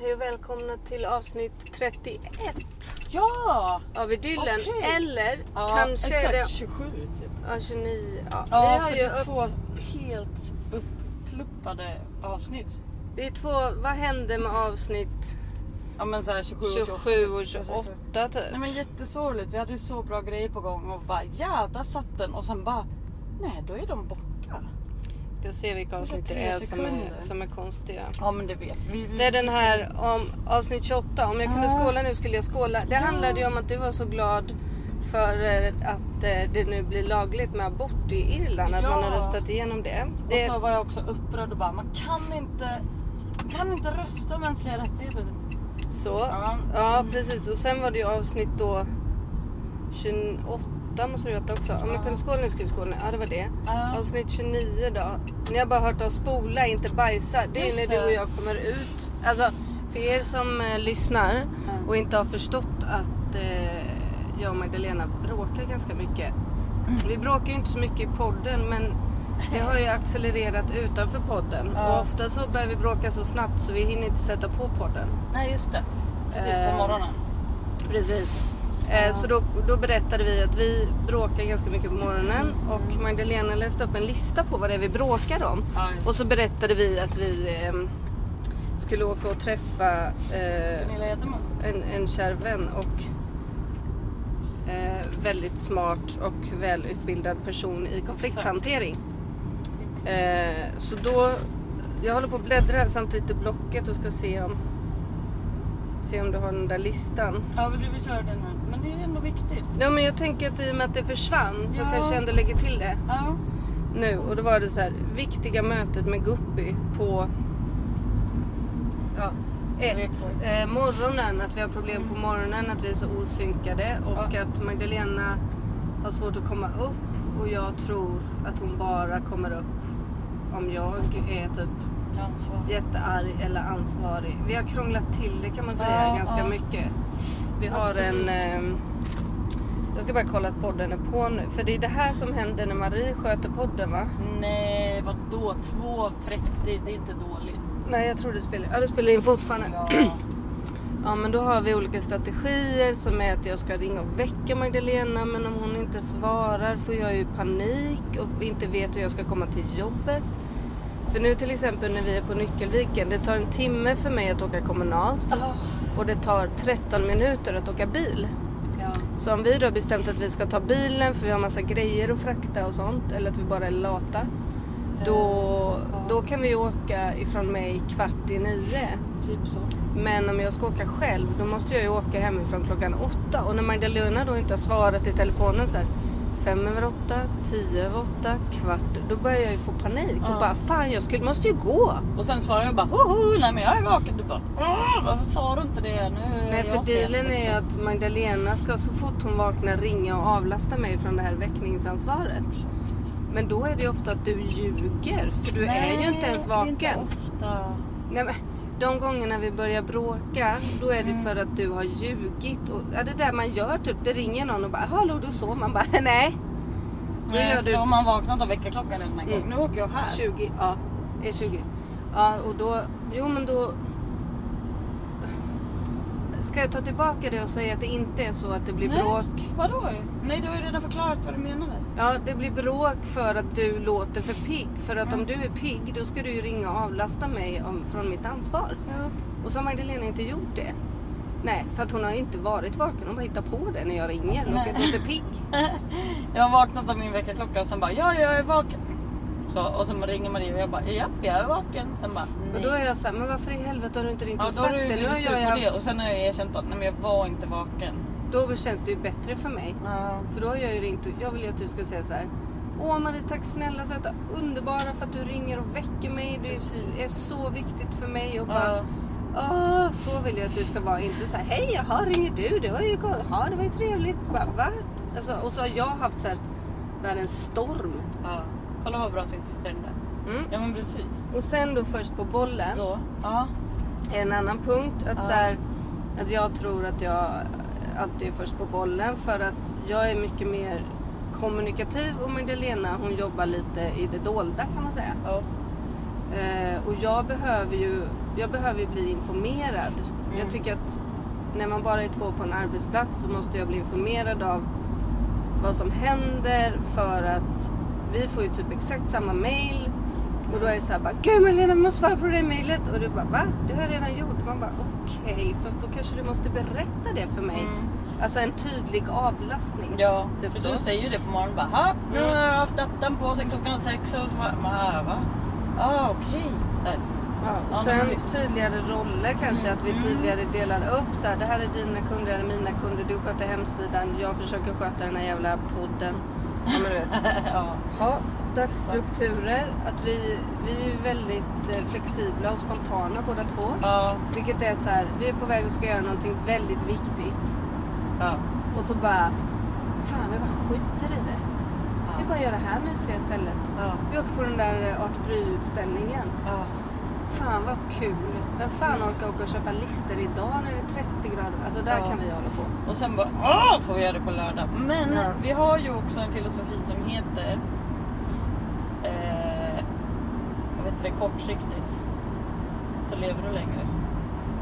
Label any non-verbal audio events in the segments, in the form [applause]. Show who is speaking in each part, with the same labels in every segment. Speaker 1: Hej och välkomna till avsnitt 31
Speaker 2: Ja!
Speaker 1: av Idyllen.
Speaker 2: Okej.
Speaker 1: Eller
Speaker 2: ja
Speaker 1: kanske
Speaker 2: exakt,
Speaker 1: är det
Speaker 2: 27 typ.
Speaker 1: ja, 29. Ja.
Speaker 2: Ja,
Speaker 1: vi har
Speaker 2: för
Speaker 1: ju
Speaker 2: det är
Speaker 1: upp,
Speaker 2: två helt uppluppade avsnitt.
Speaker 1: det är två, vad hände med avsnitt
Speaker 2: Ja men såhär 27 och 28.
Speaker 1: 27 och 28
Speaker 2: Nej
Speaker 1: typ?
Speaker 2: men jättesorgligt, vi hade ju så bra grejer på gång och bara ja, där satt den och sen bara nej, då är de borta.
Speaker 1: Ska se vilka avsnitt det
Speaker 2: tre
Speaker 1: är som är,
Speaker 2: sekunder. Mm.
Speaker 1: som är konstiga.
Speaker 2: Ja men det vet vi. vi
Speaker 1: Det är den här om avsnitt 28. Om jag kunde
Speaker 2: Ja.
Speaker 1: skåla nu skulle jag skåla.
Speaker 2: Ah.
Speaker 1: Det handlade ju om att du var så glad för eh, att eh, det nu blir lagligt med abort i Irland. Att
Speaker 2: Ja.
Speaker 1: man har röstat igenom det. det
Speaker 2: Och så var jag också upprörd och bara man kan inte, man kan inte rösta om mänskliga rättigheter.
Speaker 1: Så.
Speaker 2: Ja.
Speaker 1: Ja, precis. Och sen var det ju avsnitt då 28 måste det heta också. Om ni
Speaker 2: Ja.
Speaker 1: kunde skåla nu skulle vi skåla. Ja, det var det.
Speaker 2: Ja.
Speaker 1: Avsnitt 29 då. Ni har bara hört oss spola, inte bajsa. Det är
Speaker 2: Just
Speaker 1: när
Speaker 2: det.
Speaker 1: du och jag kommer ut. Alltså, för er som eh, lyssnar och inte har förstått att eh, jag och Magdalena bråkar ganska mycket. Vi bråkar ju inte så mycket i podden, men det har ju accelererat utanför podden.
Speaker 2: Ja.
Speaker 1: Och ofta så börjar vi bråka så snabbt så vi hinner inte sätta på podden.
Speaker 2: Nej just det, precis
Speaker 1: Eh,
Speaker 2: på morgonen.
Speaker 1: Precis. Eh, så då, då berättade vi att vi bråkar ganska mycket på morgonen och Magdalena läste upp en lista på vad det är vi bråkar om.
Speaker 2: Ja, just det.
Speaker 1: Och så berättade vi att vi ehm, skulle åka och träffa eh,
Speaker 2: Gunilla Edemo.
Speaker 1: en, en kär vän och eh, väldigt smart och välutbildad person i konflikthantering. Eh, så då, jag håller på att bläddra här samtidigt i blocket och ska se om, se om du har den där listan.
Speaker 2: Ja vill du vill köra den nu? Men det är ändå viktigt.
Speaker 1: Ja men jag tänker att i och med att det försvann så
Speaker 2: Ja.
Speaker 1: kanske jag ändå lägger till det
Speaker 2: Ja.
Speaker 1: nu. Och då var det så här, viktiga mötet med Guppy på... Ja. Ett, eh, morgonen, att vi har problem på morgonen, att vi är så osynkade och att Magdalena har svårt att komma upp och jag tror att hon bara kommer upp om jag är typ
Speaker 2: Ansvar.
Speaker 1: jättearg eller ansvarig. Vi har krånglat till det kan man säga
Speaker 2: Ja,
Speaker 1: ganska
Speaker 2: ja.
Speaker 1: mycket. Vi har en...
Speaker 2: Absolut.
Speaker 1: ehm, jag ska bara kolla att podden är på nu. För det är det här som händer när Marie sköter podden va?
Speaker 2: Nej, vadå? 2.30, det är inte dåligt.
Speaker 1: Nej jag tror det spelar, ja, det spelar in fortfarande. Ja. [clears throat] men då har vi olika strategier som är att jag ska ringa och väcka Magdalena men om hon inte svarar får jag ju panik och inte vet hur jag ska komma till jobbet. För nu till exempel när vi är på Nyckelviken, det tar en timme för mig att åka kommunalt.
Speaker 2: Ja.
Speaker 1: och det tar 13 minuter att åka bil.
Speaker 2: Ja.
Speaker 1: Så om vi då har bestämt att vi ska ta bilen för vi har massa grejer att frakta och sånt eller att vi bara är lata. Då, då kan vi åka ifrån mig kvart i nio.
Speaker 2: Typ så.
Speaker 1: Men om jag ska åka själv då måste jag ju åka hemifrån klockan åtta. Och när Magdalena då inte har svarat i telefonen så här fem över åtta, tio över åtta, kvart. Då börjar jag ju få panik och
Speaker 2: Ja.
Speaker 1: bara fan jag skulle, måste ju gå.
Speaker 2: Och sen svarar jag bara hoho, nej men jag är vaken. Du bara "Åh, varför sa du inte det? Nu är
Speaker 1: Nej, för
Speaker 2: jag sen",
Speaker 1: dealen är ju
Speaker 2: liksom.
Speaker 1: att Magdalena ska så fort hon vaknar ringa och avlasta mig från det här väckningsansvaret. Men då är det ju ofta att du ljuger, för du är ju inte ens vaken.
Speaker 2: det är inte ofta.
Speaker 1: Nej, men de gångerna vi börjar bråka, då är
Speaker 2: Mm.
Speaker 1: det för att du har ljugit. Och, ja, det där man gör typ, det ringer någon och bara “Hallå, du sov?” Man bara [laughs] “Nej, Då
Speaker 2: Nej,
Speaker 1: gör
Speaker 2: för
Speaker 1: du-
Speaker 2: då har man vaknat av väckarklockan redan en gång.
Speaker 1: Mm.
Speaker 2: Nu åker jag här.
Speaker 1: 20, ja, är 20. Ja, och då, jo men då... Ska jag ta tillbaka det och säga att det inte är så att det blir
Speaker 2: Nej.
Speaker 1: bråk?
Speaker 2: Vadå? Nej, du har ju redan förklarat vad du menade.
Speaker 1: Ja, det blir bråk för att du låter för pigg. För att om du är pigg, då ska du ju ringa och avlasta mig om, från mitt ansvar.
Speaker 2: Ja.
Speaker 1: Och så har Magdalena inte gjort det. Nej, för att hon har inte varit vaken. Hon bara hittar på det när jag ringer och
Speaker 2: Nej.
Speaker 1: att hon är
Speaker 2: [laughs]
Speaker 1: pigg.
Speaker 2: Jag har vaknat av min väckarklocka och sen bara ja, jag är vaken. Så, och sen ringer Maria och jag bara japp, jag är vaken. Sen bara nej.
Speaker 1: Och då är jag så här, men varför i helvete har du inte ringt
Speaker 2: Ja,
Speaker 1: och
Speaker 2: då har
Speaker 1: sagt det?
Speaker 2: du
Speaker 1: Nu
Speaker 2: blivit
Speaker 1: har
Speaker 2: sur
Speaker 1: jag
Speaker 2: på
Speaker 1: ju
Speaker 2: det
Speaker 1: haft,
Speaker 2: och sen har jag erkänt att nej, men jag var inte vaken.
Speaker 1: då känns det ju bättre för mig. För då har jag ju ringt och jag vill ju att du ska säga så här. Åh Marie, tack snälla söta underbara för att du ringer och väcker mig. Det är
Speaker 2: Precis.
Speaker 1: så viktigt för mig. Och bara,
Speaker 2: Ja.
Speaker 1: Åh, så vill jag att du ska vara. Inte så här, hej jaha ringer du? Det var ju, jaha, det var ju trevligt. Bara, va? Alltså, och så har jag haft så här, världens storm.
Speaker 2: Ja. Kolla vad bra att vi inte sitter i den där.
Speaker 1: Mm.
Speaker 2: Ja men precis.
Speaker 1: Och sen då först på bollen.
Speaker 2: Då. Ja.
Speaker 1: En annan punkt, att,
Speaker 2: Ja.
Speaker 1: så här, att jag tror att jag alltid är först på bollen för att jag är mycket mer kommunikativ och Magdalena hon jobbar lite i det dolda kan man säga.
Speaker 2: ja.
Speaker 1: Eh, och jag behöver ju jag behöver ju bli informerad.
Speaker 2: Mm.
Speaker 1: Jag tycker att när man bara är två på en arbetsplats så måste jag bli informerad av vad som händer för att vi får ju typ exakt samma mail och då är det så här bara Gud Malena vi måste svara på det där mailet och du bara va? Det har jag redan gjort. Man bara okej fast då kanske du måste berätta det för mig.
Speaker 2: Mm.
Speaker 1: Alltså en tydlig avlastning.
Speaker 2: Ja,
Speaker 1: Typ
Speaker 2: för
Speaker 1: så.
Speaker 2: du säger ju det på morgonen bara "Ha, nu har jag haft datten på sen klockan sex och så bara "Ma, va? Ah okej. Så här, [laughs]
Speaker 1: Ja, Mm.
Speaker 2: Ja,
Speaker 1: sen
Speaker 2: men visst.
Speaker 1: tydligare roller kanske, att vi tydligare delar upp så här, det här är dina kunder, det här är mina kunder, du sköter hemsidan, jag försöker sköta den här jävla podden. Ja, men du vet.
Speaker 2: ja.
Speaker 1: [laughs] Ja, dagsstrukturer, att vi, vi är ju väldigt eh, flexibla och spontana båda två.
Speaker 2: Ja,
Speaker 1: Vilket är så här, vi är på väg och ska göra någonting väldigt viktigt
Speaker 2: ja.
Speaker 1: och så bara, fan vi bara skiter i det. Vi
Speaker 2: ja,
Speaker 1: bara gör det här mysiga istället.
Speaker 2: ja,
Speaker 1: Vi åker på den där eh, Art Bry-utställningen.
Speaker 2: ja.
Speaker 1: Fan vad kul. Vem fan orkar åka och köpa lister idag när det är 30 grader? Alltså där
Speaker 2: Ja.
Speaker 1: kan vi hålla på.
Speaker 2: Och sen bara ah får vi göra det på lördag. Men
Speaker 1: Ja.
Speaker 2: vi har ju också en filosofi som heter eh, vad heter det, kortsiktigt. Så lever du längre.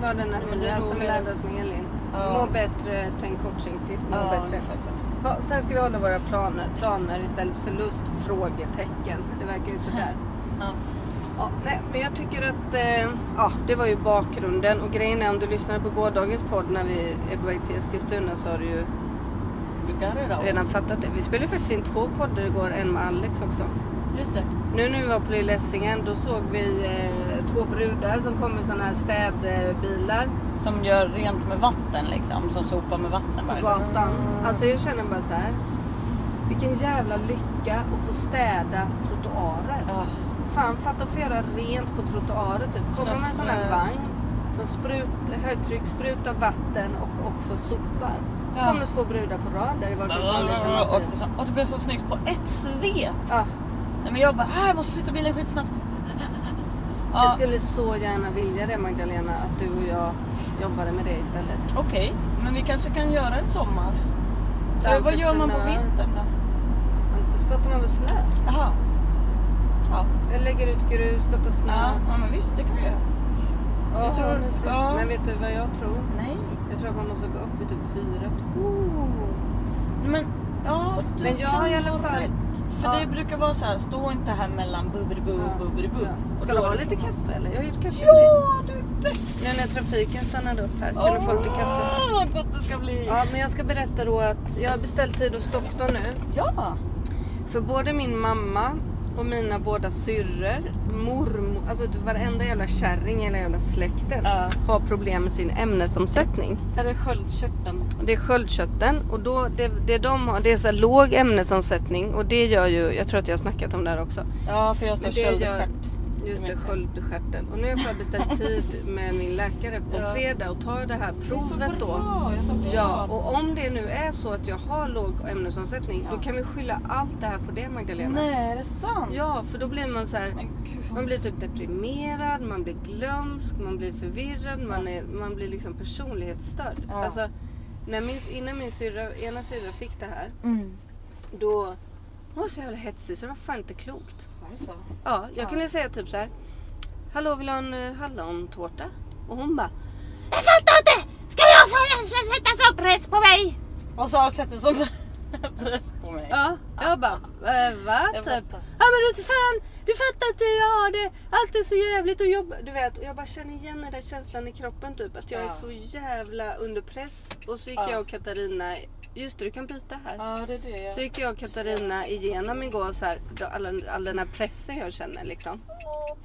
Speaker 1: Ja den här
Speaker 2: Ja, men det är
Speaker 1: nya som vi
Speaker 2: roligare.
Speaker 1: lärde oss med Elin.
Speaker 2: Ja.
Speaker 1: Må bättre, tänk kortsiktigt, må bättre.
Speaker 2: ungefär så.
Speaker 1: Ja, sen ska vi hålla våra planer, planer istället för lust, frågetecken. Det verkar ju [laughs] sådär.
Speaker 2: Ja.
Speaker 1: Ja, nej, men jag tycker att eh, ja, det var ju bakgrunden och grejen är om du lyssnade på gårdagens podd när vi är på väg till Eskilstuna så har du ju
Speaker 2: Du kan röra om.
Speaker 1: redan fattat det. Vi spelade faktiskt in två poddar igår, en med Alex också.
Speaker 2: Just det.
Speaker 1: Nu när vi var på Lilla Essingen då såg vi eh, två brudar som kom med sådana här städbilar
Speaker 2: Som gör rent med vatten liksom. Som sopar med vatten
Speaker 1: på
Speaker 2: varje dag.
Speaker 1: gatan. Alltså jag känner bara så här. Vilken jävla lycka att få städa trottoarer.
Speaker 2: Ah,
Speaker 1: Fan fatta att få göra rent på trottoarer typ. Komma med en sån här
Speaker 2: Snö.
Speaker 1: vagn som sprut, högtryckssprutar vatten och också sopar.
Speaker 2: Ja.
Speaker 1: Kommer två brudar på rad där i varsin sån liten
Speaker 2: Och, det
Speaker 1: maskin.
Speaker 2: så- och det blev så snyggt på ett svep.
Speaker 1: Ah,
Speaker 2: Nej, men jag bara, ah, jag måste flytta bilen skitsnabbt. [laughs]
Speaker 1: Jag
Speaker 2: Ja,
Speaker 1: skulle så gärna vilja det Magdalena, att du och jag jobbade med det istället.
Speaker 2: Okej, men vi kanske kan göra en sommar. Så
Speaker 1: Där
Speaker 2: vad gör man på
Speaker 1: entreprenör.
Speaker 2: vintern då?
Speaker 1: Men Skottar man väl snö?
Speaker 2: Jaha. Ja.
Speaker 1: Jag lägger ut grus, skottar snö.
Speaker 2: Ja, ja, men visst det kan vi göra.
Speaker 1: Åh,
Speaker 2: jag tror-
Speaker 1: mysigt.
Speaker 2: ja.
Speaker 1: Men vet du vad jag tror?
Speaker 2: Nej.
Speaker 1: Jag tror att man måste gå upp vid typ fyra.
Speaker 2: Men ja, du
Speaker 1: Men jag
Speaker 2: kan
Speaker 1: har i alla
Speaker 2: ha
Speaker 1: fall-
Speaker 2: rätt. För
Speaker 1: Ja.
Speaker 2: det brukar vara så här, stå inte här mellan bubberibu och bubberibu. Och
Speaker 1: Ska
Speaker 2: då
Speaker 1: du ha
Speaker 2: är det-
Speaker 1: lite kaffe eller? Jag har gjort kaffe till
Speaker 2: Ja, du är bäst!
Speaker 1: dig. Nu när trafiken stannade upp här. Kan du få lite kaffe?
Speaker 2: Åh, vad gott det ska bli!
Speaker 1: Ja, men jag ska berätta då att jag har beställt tid hos doktorn nu.
Speaker 2: Ja.
Speaker 1: För både min mamma och mina båda syrror, mormor, alltså typ varenda jävla kärring i hela jävla släkten
Speaker 2: Ja.
Speaker 1: har problem med sin ämnesomsättning.
Speaker 2: Är det sköldkörteln?
Speaker 1: Det är sköldkörteln och då, det, det de har, det är så här låg ämnesomsättning och det gör ju, jag tror att jag har snackat om det här också.
Speaker 2: Ja, för jag sa
Speaker 1: Men det gör-
Speaker 2: sköldkört.
Speaker 1: Just det,
Speaker 2: minns jag.
Speaker 1: sköldkörteln. Och nu har jag
Speaker 2: [laughs]
Speaker 1: beställt tid med min läkare på
Speaker 2: Ja.
Speaker 1: fredag och tar det här provet
Speaker 2: Det är så
Speaker 1: då.
Speaker 2: bra! Jag sa bra.
Speaker 1: Ja, och om det nu är så att jag har låg ämnesomsättning då kan vi skylla allt det här på det Magdalena.
Speaker 2: Nej, är det sant?
Speaker 1: Ja, för då blir man så här,
Speaker 2: Men gud, vad
Speaker 1: man blir typ deprimerad, man blir glömsk, man blir förvirrad, man, är, man blir liksom personlighetsstörd.
Speaker 2: Ja.
Speaker 1: Alltså, när min, innan min syrra, ena syrra fick det här
Speaker 2: Mm.
Speaker 1: då hon var så jävla hetsig så det var fan inte klokt.
Speaker 2: Var det så?
Speaker 1: Ja, jag
Speaker 2: Ja.
Speaker 1: kunde säga typ så här. Hallå, vill du ha en eh, hallontårta? Och hon bara. Jag fattar inte! Ska jag få jag sätta sån press på mig?
Speaker 2: Och så har jag sett en sån [laughs] press på mig.
Speaker 1: Ja, jag bara. Äh, va?
Speaker 2: Jag
Speaker 1: typ.
Speaker 2: fattar.
Speaker 1: Ja men du fan, du fattar inte hur jag har det. Allt är så jävligt och jobb. Du vet, och jag bara känner igen den där känslan i kroppen typ. Att jag är
Speaker 2: Ja.
Speaker 1: så jävla under press. Och så gick
Speaker 2: Ja.
Speaker 1: jag och Katarina. Just det, du kan byta här.
Speaker 2: Ja, det är det. jag-
Speaker 1: Så gick jag och Katarina igenom igår så här, då all, all den här pressen jag känner liksom.
Speaker 2: Åh,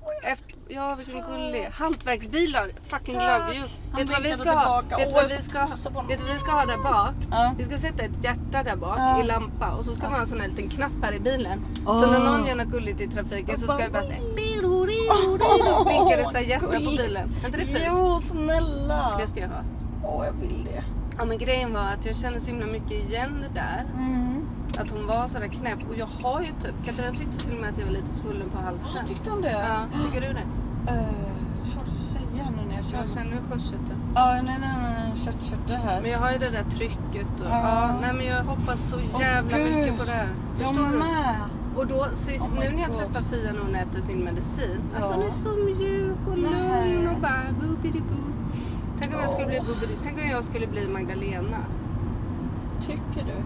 Speaker 2: får jag-
Speaker 1: Efter, ja vilken gullig. Hantverksbilar, fucking
Speaker 2: Tack.
Speaker 1: love you.
Speaker 2: Han
Speaker 1: Vet du vad vi
Speaker 2: vinkade
Speaker 1: ska ha?
Speaker 2: tillbaka.
Speaker 1: Vet du
Speaker 2: Åh,
Speaker 1: vad
Speaker 2: jag
Speaker 1: vi
Speaker 2: ska
Speaker 1: ska ha?
Speaker 2: pussa på honom.
Speaker 1: Vet du vad vi ska ha där bak?
Speaker 2: Ja.
Speaker 1: Vi ska sätta ett hjärta där bak
Speaker 2: Ja.
Speaker 1: i lampa och så ska man ha en sån här liten knapp här i bilen. Så
Speaker 2: Åh.
Speaker 1: när någon gör något gulligt i trafiken så ska
Speaker 2: bara,
Speaker 1: vi bara säga "Biroririrori", och blinka ett så här hjärta på
Speaker 2: gulligt.
Speaker 1: bilen. Är inte det fint?
Speaker 2: Jo, snälla!
Speaker 1: Det ska jag ha.
Speaker 2: Åh, jag vill det.
Speaker 1: Ja men grejen var att jag kände så himla mycket igen det där. Att hon var sådär knäpp och jag har ju typ, Katarina tyckte till och med att jag var lite svullen på
Speaker 2: Ja,
Speaker 1: halsen.
Speaker 2: tyckte om det?
Speaker 1: Ja, tycker du det?
Speaker 2: Eh, Svårt att säga nu när jag kör.
Speaker 1: Jag känner hur sköldkörteln.
Speaker 2: Ja, nej, nej, nej. Kört, kört det här.
Speaker 1: Men jag har ju det där trycket och,
Speaker 2: Ja.
Speaker 1: ja. nej men jag hoppas så
Speaker 2: Åh,
Speaker 1: jävla
Speaker 2: gud.
Speaker 1: mycket på det här.
Speaker 2: jag
Speaker 1: Förstår du?
Speaker 2: med.
Speaker 1: Och då sist,
Speaker 2: Oh my
Speaker 1: nu när jag
Speaker 2: God.
Speaker 1: träffar Fia när hon äter sin medicin. Alltså
Speaker 2: Ja.
Speaker 1: hon är så mjuk och
Speaker 2: Nej.
Speaker 1: lugn och bara boobidi-boo. Tänk om jag skulle bli
Speaker 2: Åh.
Speaker 1: boobidi, tänk om jag skulle bli Magdalena.
Speaker 2: Tycker du?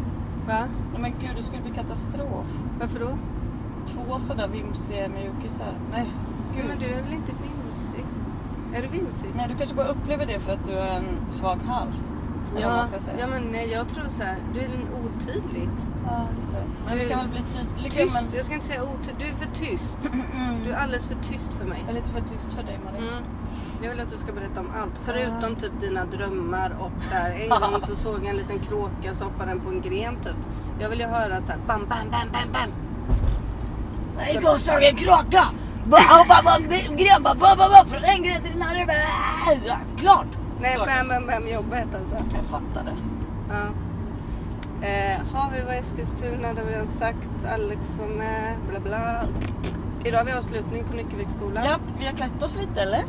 Speaker 1: Va?
Speaker 2: Nej men gud det skulle bli katastrof.
Speaker 1: Varför då?
Speaker 2: Två sådär vimsiga mjukisar. Nej
Speaker 1: Ja,
Speaker 2: gud.
Speaker 1: men du är väl inte vimsig? Är du vimsig?
Speaker 2: Nej du kanske bara upplever det för att du har en svag hals. Eller vad man ska säga.
Speaker 1: ja men nej, jag tror så här. Du är en otydlig.
Speaker 2: Ja, just det. Men
Speaker 1: Du-
Speaker 2: vi kan väl bli tydliga.
Speaker 1: Tyst,
Speaker 2: Men...
Speaker 1: jag ska inte säga otydlig. Du är för tyst.
Speaker 2: Mm.
Speaker 1: Du är alldeles för tyst för mig.
Speaker 2: Jag är lite för tyst för dig Maria.
Speaker 1: Mm. Jag vill att du ska berätta om allt. Förutom
Speaker 2: Ah.
Speaker 1: typ dina drömmar och så här.
Speaker 2: [laughs]
Speaker 1: En gång så såg jag en liten kråka så hoppade den på en gren typ. Jag vill ju höra så här bam, bam, bam, bam, bam.
Speaker 3: En gång såg jag en kråka. Bara hoppade på en gren. Bara bam, bam, bam, från en gren till den andra. Bara, äh, så, klart.
Speaker 1: Nej,
Speaker 2: Så
Speaker 1: bam,
Speaker 2: kanske.
Speaker 1: bam, bam jobbet alltså.
Speaker 2: Jag fattar det.
Speaker 1: Ja. Eh, har vi var Eskilstuna, det har vi redan sagt. Alex var med, bla bla. Idag har vi avslutning på Nyckelviksskolan.
Speaker 2: Japp, vi har klätt oss lite eller?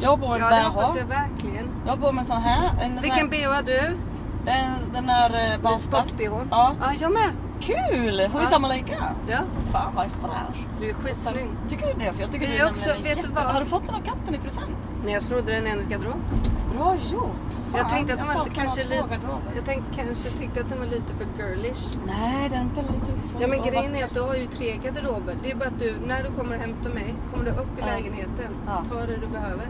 Speaker 2: Jag bor
Speaker 1: ja
Speaker 2: där
Speaker 1: det
Speaker 2: jag
Speaker 1: hoppas
Speaker 2: har.
Speaker 1: jag verkligen.
Speaker 2: Jag bor med en sån här. En sån
Speaker 1: Vilken
Speaker 2: här
Speaker 1: bh har du?
Speaker 2: den, den här eh, bastan.
Speaker 1: Sport-bh?
Speaker 2: Ja.
Speaker 1: ja, jag med.
Speaker 2: Kul! Har vi
Speaker 1: Ja.
Speaker 2: samma lika?
Speaker 1: Ja,
Speaker 2: Fan vad fräsch.
Speaker 1: du är skitsnygg.
Speaker 2: Tycker du det? För jag tycker
Speaker 1: Vi
Speaker 2: du är
Speaker 1: också-
Speaker 2: nämligen
Speaker 1: vet du vad?
Speaker 2: Har du fått den av katten i present?
Speaker 1: Nej, jag snodde den i hennes garderob.
Speaker 2: Bra gjort! Fan,
Speaker 1: Jag tänkte att den
Speaker 2: jag
Speaker 1: var
Speaker 2: saknar
Speaker 1: kanske
Speaker 2: två
Speaker 1: lite...
Speaker 2: garderober.
Speaker 1: Jag tänkte, kanske tyckte att den var lite för girlish.
Speaker 2: Nej, den är väldigt tuff. och-
Speaker 1: Ja men
Speaker 2: och
Speaker 1: grejen är
Speaker 2: vacker.
Speaker 1: att du har ju tre garderober. Det är bara att du, när du kommer och hämtar mig, kommer du upp i
Speaker 2: Ja.
Speaker 1: lägenheten,
Speaker 2: Ja.
Speaker 1: ta det du behöver.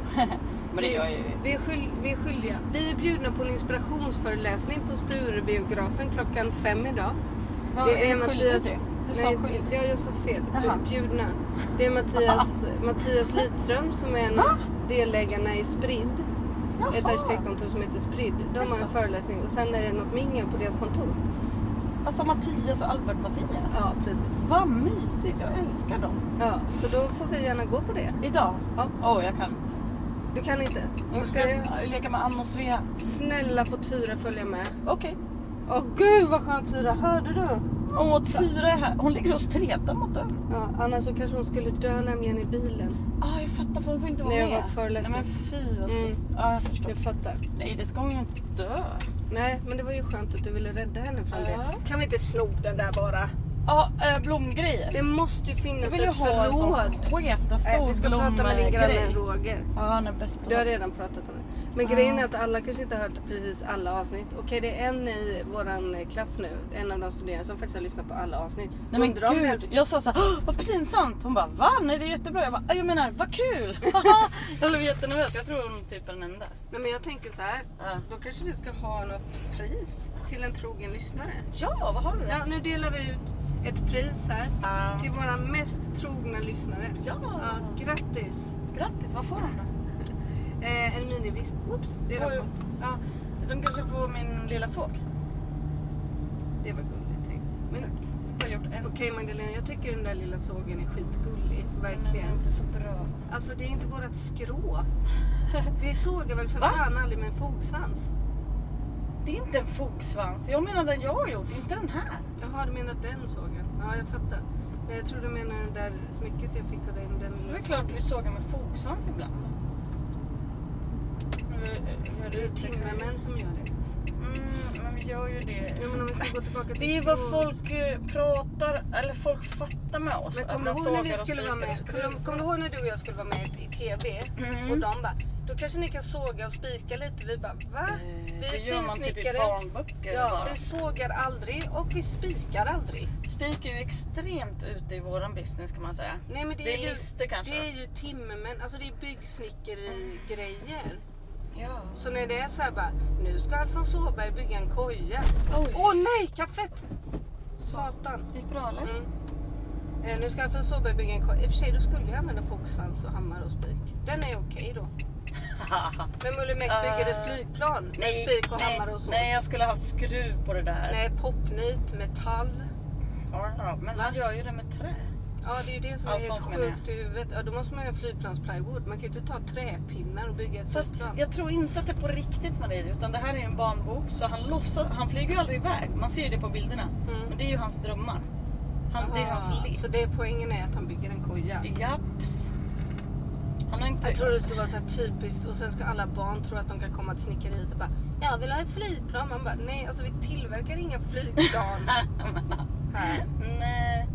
Speaker 2: Men det gör jag ju.
Speaker 1: Vi är, skyld, vi är skyldiga. Vi är bjudna på en inspirationsföreläsning på Sturebiografen klockan fem idag.
Speaker 2: Vad
Speaker 1: det är
Speaker 2: skyldig
Speaker 1: Mattias...
Speaker 2: du? Du sa
Speaker 1: Nej,
Speaker 2: skyldig.
Speaker 1: jag jag sa fel. Vi
Speaker 2: Jaha.
Speaker 1: är bjudna. Det är Mattias,
Speaker 2: [laughs]
Speaker 1: Mattias Lidström som är en av delägarna i Sprid. Ett
Speaker 2: Jaha.
Speaker 1: arkitektkontor som heter Sprid. De har
Speaker 2: Jaså.
Speaker 1: en föreläsning och sen är det något mingel på deras kontor.
Speaker 2: Alltså Mattias och Albert Mattias.
Speaker 1: Ja, precis.
Speaker 2: Vad mysigt, jag älskar dem.
Speaker 1: Ja, så då får vi gärna gå på det.
Speaker 2: Idag?
Speaker 1: Ja.
Speaker 2: Åh, jag kan.
Speaker 1: Du kan inte.
Speaker 2: Jag
Speaker 1: Vad ska
Speaker 2: ska
Speaker 1: du?
Speaker 2: leka med Ann och Svea.
Speaker 1: Snälla får Tyra följa med.
Speaker 2: Okej.
Speaker 1: Åh gud vad skönt Tyra, hörde du?
Speaker 2: Åh, Tyra är här. Hon ligger och stretar mot dörren.
Speaker 1: Ja, annars så kanske hon skulle dö nämligen i bilen.
Speaker 2: Ah, jag fattar, för hon får inte vara
Speaker 1: Nej, jag
Speaker 2: med.
Speaker 1: var på föreläsning.
Speaker 2: Nej, men fy vad
Speaker 1: Mm.
Speaker 2: trist. Ja, jag förstår.
Speaker 1: Jag fattar.
Speaker 2: Nej, det ska hon ju inte dö.
Speaker 1: Nej, men det var ju skönt att du ville rädda henne från
Speaker 2: Ja.
Speaker 1: det. Kan vi inte sno den där bara?
Speaker 2: Ja, eh, blomgrejer.
Speaker 1: Det måste ju
Speaker 2: Jag
Speaker 1: finnas
Speaker 2: vill ju
Speaker 1: ett
Speaker 2: ha en sån
Speaker 1: förråd. Nej,
Speaker 2: sketanstor
Speaker 1: vi ska prata med din granne
Speaker 2: blomgrej.
Speaker 1: Roger.
Speaker 2: Ja, han är bäst på
Speaker 1: Du har
Speaker 2: sånt.
Speaker 1: redan pratat om det. Men
Speaker 2: Ja.
Speaker 1: grejen är att alla kanske inte har hört precis alla avsnitt. Okej, det är en i våran klass nu, en av de studerande som faktiskt har lyssnat på alla avsnitt.
Speaker 2: Nej men
Speaker 1: Undrar om det ens-
Speaker 2: gud, jag sa såhär, "Åh, vad pinsamt! Hon bara, va? Nej det är jättebra. Jag bara, "Ja, jag menar, vad kul! [laughs] jag blev jättenervös, jag tror hon typ är den enda.
Speaker 1: Nej, men jag tänker så här. Då kanske vi ska ha något pris till en trogen lyssnare.
Speaker 2: Ja, vad har du Typ
Speaker 1: Ja,
Speaker 2: det?
Speaker 1: nu delar vi ut ett pris här
Speaker 2: Ja.
Speaker 1: till våran mest trogna lyssnare.
Speaker 2: Ja.
Speaker 1: grattis!
Speaker 2: Grattis, vad får hon då?
Speaker 1: Eh, en minivisp. Oops, det har
Speaker 2: Oj.
Speaker 1: jag fått.
Speaker 2: Ja, de kanske får min lilla såg.
Speaker 1: Det var gulligt tänkt. Men
Speaker 2: Jag har gjort en.
Speaker 1: okej Magdalena, jag tycker den där lilla sågen är skitgullig.
Speaker 2: Den är
Speaker 1: Verkligen.
Speaker 2: inte så bra.
Speaker 1: Alltså det är inte vårat skrå. Vi sågar väl för
Speaker 2: Va?
Speaker 1: fan aldrig med en fogsvans?
Speaker 2: Det är inte en fogsvans. Jag menar den jag har gjort, inte den här.
Speaker 1: Jaha, du menar den sågen? Ja, jag fattar. Nej, jag tror du menar det där smycket jag fick av dig. Den
Speaker 2: Det är
Speaker 1: lilla
Speaker 2: väl klart vi sågar med fogsvans ibland. Men vi- vi-
Speaker 1: Det är timmermän som gör det.
Speaker 2: Mm, men vi gör ju det.
Speaker 1: Ja, men om vi ska gå tillbaka till
Speaker 2: Det är vad
Speaker 1: skrået.
Speaker 2: folk eh, pratar, eller folk fattar med oss.
Speaker 1: Men
Speaker 2: att
Speaker 1: kommer
Speaker 2: man
Speaker 1: du ihåg när
Speaker 2: sågar
Speaker 1: vi
Speaker 2: och
Speaker 1: skulle
Speaker 2: spikar
Speaker 1: vara
Speaker 2: och så
Speaker 1: med?
Speaker 2: krullar.
Speaker 1: Kommer kommer du ihåg när du och jag skulle vara med i TV?
Speaker 2: Mm.
Speaker 1: Och de bara, då kanske ni kan såga och spika lite. Vi bara, va? Vi
Speaker 2: Eh, Det
Speaker 1: är
Speaker 2: gör man typ i
Speaker 1: finsnickare.
Speaker 2: barnböcker.
Speaker 1: Ja,
Speaker 2: bara.
Speaker 1: vi sågar aldrig och vi spikar aldrig.
Speaker 2: Spik är ju extremt ute i våran business kan man säga.
Speaker 1: Nej, men det,
Speaker 2: Det är
Speaker 1: är ju,
Speaker 2: lister kanske.
Speaker 1: Det är ju timmermän, alltså det är byggsnickerigrejer.
Speaker 2: Mm. Ja.
Speaker 1: Så när det är så här bara, nu ska Alfons Åberg bygga en koja.
Speaker 2: Oj.
Speaker 1: Åh nej, kaffet! Satan.
Speaker 2: Gick bra eller? [laughs]
Speaker 1: Mm. Eh, nu ska jag för Solberg bygga en korg. I och för sig, då skulle jag använda fogsvans och hammare och spik. Den är okej då. Men Mulle Meck bygger ett
Speaker 2: Eh,
Speaker 1: flygplan med spik och hammare och så.
Speaker 2: nej, jag skulle haft skruv på det där.
Speaker 1: Nej, popnit, metall.
Speaker 2: Ja, ja, Men han gör ju det med trä.
Speaker 1: Ja, det är ju det som är
Speaker 2: Alfons
Speaker 1: helt
Speaker 2: menar jag.
Speaker 1: sjukt i huvudet. Ja, då måste man ju ha flygplansplywood. Man kan ju inte ta träpinnar och bygga ett
Speaker 2: Fast
Speaker 1: flygplan.
Speaker 2: jag tror inte att det är på riktigt Marie, utan det här är ju en barnbok. Så han, låtsas, han flyger ju aldrig iväg, man ser ju det på bilderna. Men det är ju hans drömmar. Han, det är hans
Speaker 1: Mm. Aha,
Speaker 2: liv.
Speaker 1: Så det poängen är att han bygger en koja.
Speaker 2: Japs. Han har inte...
Speaker 1: Jag
Speaker 2: [laughs]
Speaker 1: tror det skulle vara så här typiskt och sen ska alla barn tro att de kan komma till snickeriet och bara Jag vill ha ett flygplan. Man bara
Speaker 2: [laughs]
Speaker 1: nej alltså vi tillverkar inga flygplan. här.
Speaker 2: Nej.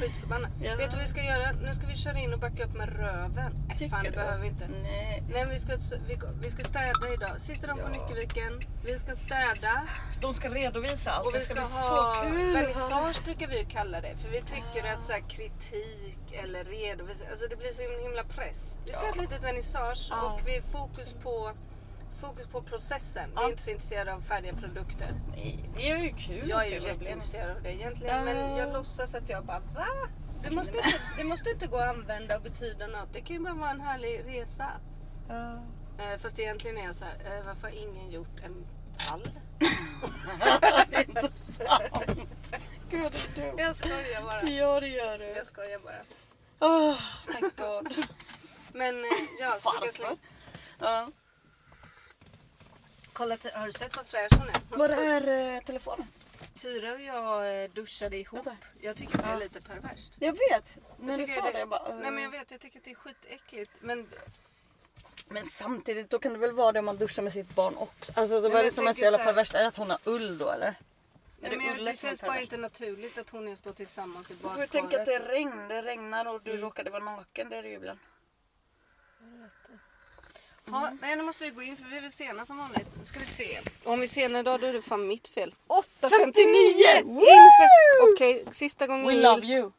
Speaker 1: Skitförbannad.
Speaker 2: Ja.
Speaker 1: Vet du vad vi ska göra? Nu ska vi köra in och backa upp med röven. Äh, fan, det behöver vi inte.
Speaker 2: Nej.
Speaker 1: Nej, men vi ska, vi, vi ska städa idag. Sista dagen på
Speaker 2: Ja.
Speaker 1: Nyckelviken. Vi ska städa.
Speaker 2: De ska redovisa allt.
Speaker 1: Och vi
Speaker 2: det ska,
Speaker 1: ska
Speaker 2: bli
Speaker 1: ha
Speaker 2: så kul.
Speaker 1: vernissage brukar vi ju kalla det. För vi tycker att så här, kritik eller redovisning, alltså det blir så en himla press. Vi ska ha ett litet vernissage
Speaker 2: Ja.
Speaker 1: och vi är fokus på, fokus på processen. Vi
Speaker 2: Ja.
Speaker 1: är inte så intresserade av färdiga produkter.
Speaker 2: Nej, det är ju kul
Speaker 1: Jag
Speaker 2: att
Speaker 1: är
Speaker 2: se
Speaker 1: ju
Speaker 2: vad det blir.
Speaker 1: jätteintresserad av det egentligen
Speaker 2: Ja.
Speaker 1: men jag låtsas att jag bara va? Det måste, inte, det måste inte gå att använda och betyda något. Det kan ju bara vara en härlig resa.
Speaker 2: Ja.
Speaker 1: Eh, fast egentligen är jag så här, eh, varför har ingen gjort en [laughs] pall?
Speaker 2: Det är inte sant. Gud vad du är dum.
Speaker 1: Jag skojar bara.
Speaker 2: Ja det gör du.
Speaker 1: Jag skojar bara.
Speaker 2: Oh my
Speaker 1: [laughs]
Speaker 2: god.
Speaker 1: Men eh, ja, så vi kan slänga.
Speaker 2: Varför? Ja.
Speaker 1: Kolla, ty- har du sett vad fräsch hon är?
Speaker 2: Var är eh, telefonen?
Speaker 1: Tyra och jag eh, duschade ihop.
Speaker 2: Vänta.
Speaker 1: Jag tycker det är lite perverst.
Speaker 2: Jag vet. När du
Speaker 1: tycker
Speaker 2: sa det, jag bara... eh.
Speaker 1: Nej men jag vet, jag tycker att det är skitäckligt. Men
Speaker 2: Men samtidigt, då kan det väl vara det om man duschar med sitt barn också? Alltså det
Speaker 1: men
Speaker 2: var det
Speaker 1: jag
Speaker 2: som är så
Speaker 1: tänker
Speaker 2: jävla
Speaker 1: så här-
Speaker 2: perverst. Är det att hon har ull då eller?
Speaker 1: Nej, men jag,
Speaker 2: Ulla
Speaker 1: det
Speaker 2: som är
Speaker 1: känns bara
Speaker 2: pervers?
Speaker 1: inte naturligt att hon och jag står tillsammans i
Speaker 2: Du får ju
Speaker 1: badkaret.
Speaker 2: tänka att det är regn, det regnar och du råkade vara naken, det är det ju ibland.
Speaker 1: ja,
Speaker 2: Mm.
Speaker 1: nej, nu måste vi gå in för vi är väl sena som vanligt. Nu ska vi se. Om vi är sena idag då är det fan mitt fel. 8.59! Inför... Okej, sista gången
Speaker 2: We
Speaker 1: gillt.
Speaker 2: love you!